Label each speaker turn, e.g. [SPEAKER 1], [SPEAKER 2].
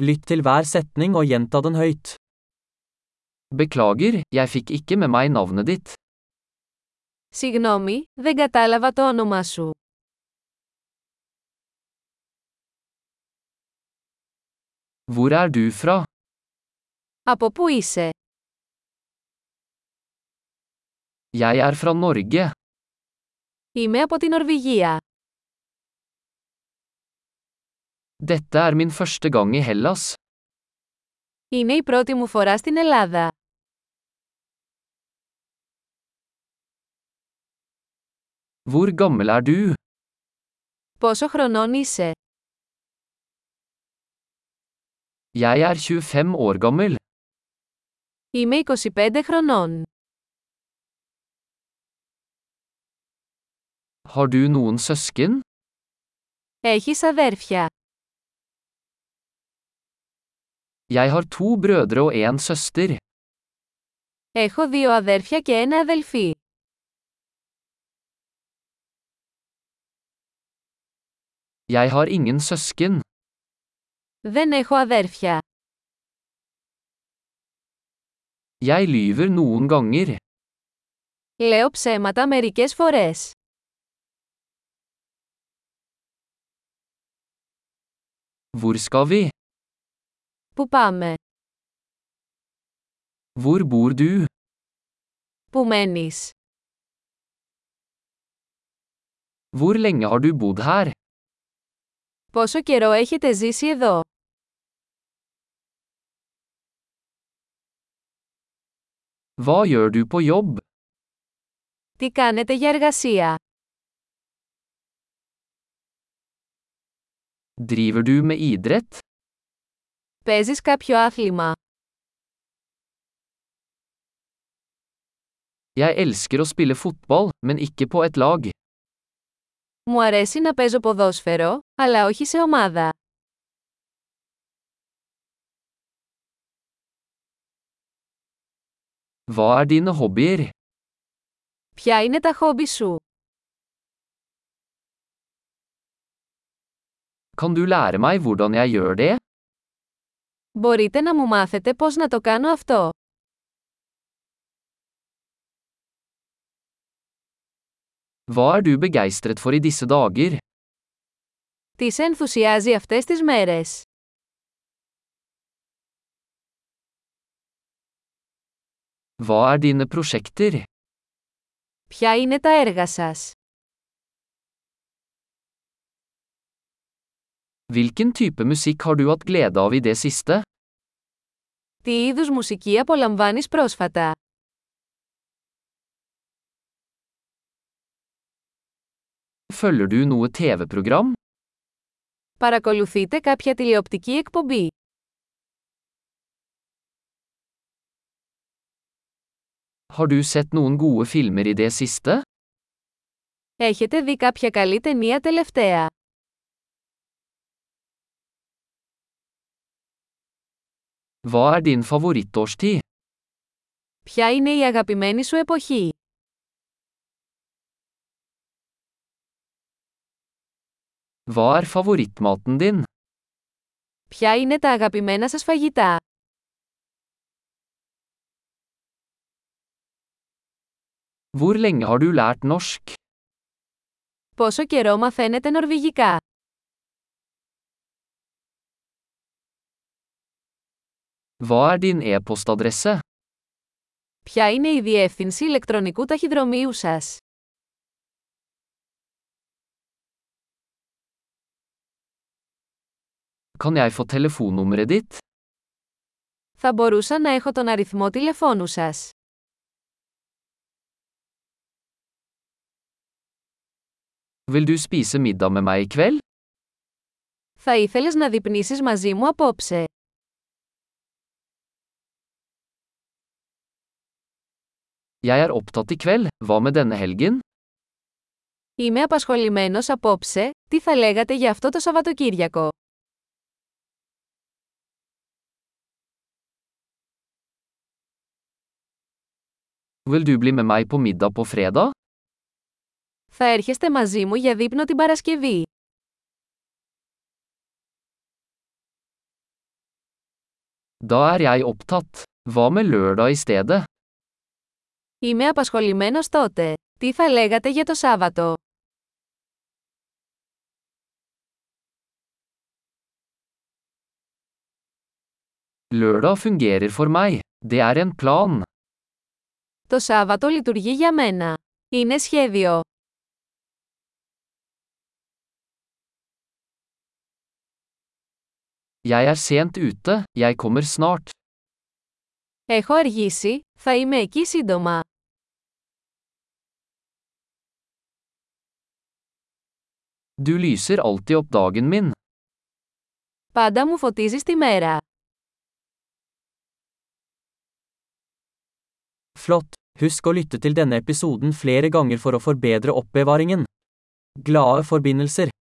[SPEAKER 1] Lytt til hver setning og gjenta den høyt. Beklager, jeg fikk ikke med meg navnet ditt.
[SPEAKER 2] Συγγνώμη, δεν κατάλαβα το όνομά σου.
[SPEAKER 1] Hvor er du fra?
[SPEAKER 2] Από πού είσαι?
[SPEAKER 1] Jeg er fra Norge.
[SPEAKER 2] Είμαι από την Νορβηγία.
[SPEAKER 1] Dette er min første gang i Hellas.
[SPEAKER 2] Είναι η πρώτη μου φορά στην Ελλάδα.
[SPEAKER 1] Hvor gammel er du?
[SPEAKER 2] Πόσο χρονών είσαι?
[SPEAKER 1] Jeg er 25 år gammel.
[SPEAKER 2] Είμαι 25 χρονών.
[SPEAKER 1] Har du noen søsken?
[SPEAKER 2] Έχεις αδέρφια.
[SPEAKER 1] Jeg har to brødre og en søster.
[SPEAKER 2] Έχω δύο αδέρφια και ένα αδελφή.
[SPEAKER 1] Jeg har ingen søsken.
[SPEAKER 2] Δεν έχω αδέρφια.
[SPEAKER 1] Jeg lyver noen ganger.
[SPEAKER 2] Λέω ψέματα μερικές φορές.
[SPEAKER 1] Hvor skal vi?
[SPEAKER 2] Πού πάμε?
[SPEAKER 1] Hvor bor du?
[SPEAKER 2] Πού μένεις?
[SPEAKER 1] Hvor lenge har du bodd her?
[SPEAKER 2] Πόσο καιρό έχετε ζήσει εδώ?
[SPEAKER 1] Hva gjør du på jobb?
[SPEAKER 2] Τι κάνετε για εργασία?
[SPEAKER 1] Driver du med idrett?
[SPEAKER 2] Παίζεις κάποιο άθλημα?
[SPEAKER 1] Jeg elsker å spille fotball, men ikke på et lag.
[SPEAKER 2] Μου αρέσει να παίζω ποδόσφαιρο, αλλά όχι σε ομάδα.
[SPEAKER 1] Hva er dine hobbyer?
[SPEAKER 2] Ποια είναι τα χόμπι σου?
[SPEAKER 1] Kan du lære meg hvordan jeg gjør det?
[SPEAKER 2] Μπορείτε να μου μάθετε πώς να το κάνω αυτό.
[SPEAKER 1] Hva er du begeistret for i disse dager?
[SPEAKER 2] Τι σε ενθουσιάζει αυτές τις μέρες.
[SPEAKER 1] Hva er dine prosjekter?
[SPEAKER 2] Ποια είναι τα έργα σας.
[SPEAKER 1] Hvilken type musikk har du hatt glede av i det siste?
[SPEAKER 2] Τι είδους μουσική απολαμβάνεις πρόσφατα.
[SPEAKER 1] Følger du noe TV-program?
[SPEAKER 2] Παρακολουθείτε κάποια τηλεοπτική εκπομπή.
[SPEAKER 1] Har du sett noen gode filmer i det siste?
[SPEAKER 2] Έχετε δει κάποια καλή ταινία τελευταία.
[SPEAKER 1] Hva er din favorittårstid?
[SPEAKER 2] Ποια είναι η αγαπημένη σου εποχή.
[SPEAKER 1] Hva er favorittmaten din?
[SPEAKER 2] Ποια είναι τα αγαπημένα σας φαγητά.
[SPEAKER 1] Hvor lenge har du lært norsk?
[SPEAKER 2] Πόσο καιρό μαθαίνετε νορβηγικά.
[SPEAKER 1] Hva er din e-postadresse?
[SPEAKER 2] Ποια είναι η διεύθυνση ηλεκτρονικού ταχυδρομείου σας.
[SPEAKER 1] Kan jeg få telefonnummeret ditt?
[SPEAKER 2] Θα μπορούσα να έχω τον αριθμό τηλεφώνου σας.
[SPEAKER 1] Vil du spise middag med meg i kveld?
[SPEAKER 2] Θα ήθελες να δειπνήσεις μαζί μου απόψε.
[SPEAKER 1] Jeg er opptatt i kveld, hva med denne helgen?
[SPEAKER 2] Είμαι απασχολημένος απόψε, τι θα λέγατε για αυτό το Σαββατοκύριακο.
[SPEAKER 1] Vil du bli med meg på middag på fredag?
[SPEAKER 2] Θα έρχεστε μαζί μου για δείπνο την Παρασκευή.
[SPEAKER 1] Da er jeg opptatt. Hva med lørdag i stedet?
[SPEAKER 2] Είμαι απασχολημένος τότε. Τι θα λέγατε για το Σάββατο?
[SPEAKER 1] Lørdag fungerer for meg. Det er en plan.
[SPEAKER 2] Το Σάββατο λειτουργεί για μένα. Είναι σχέδιο.
[SPEAKER 1] Jeg er sent ute, jeg kommer snart.
[SPEAKER 2] Έχω αργήσει, θα είμαι εκεί σύντομα.
[SPEAKER 1] Du lyser alltid opp dagen min.
[SPEAKER 2] Πάντα μου φωτίζεις τη μέρα.
[SPEAKER 1] Flott. Husk å lytte til denne episoden flere ganger for å forbedre oppbevaringen. Glade forbindelser.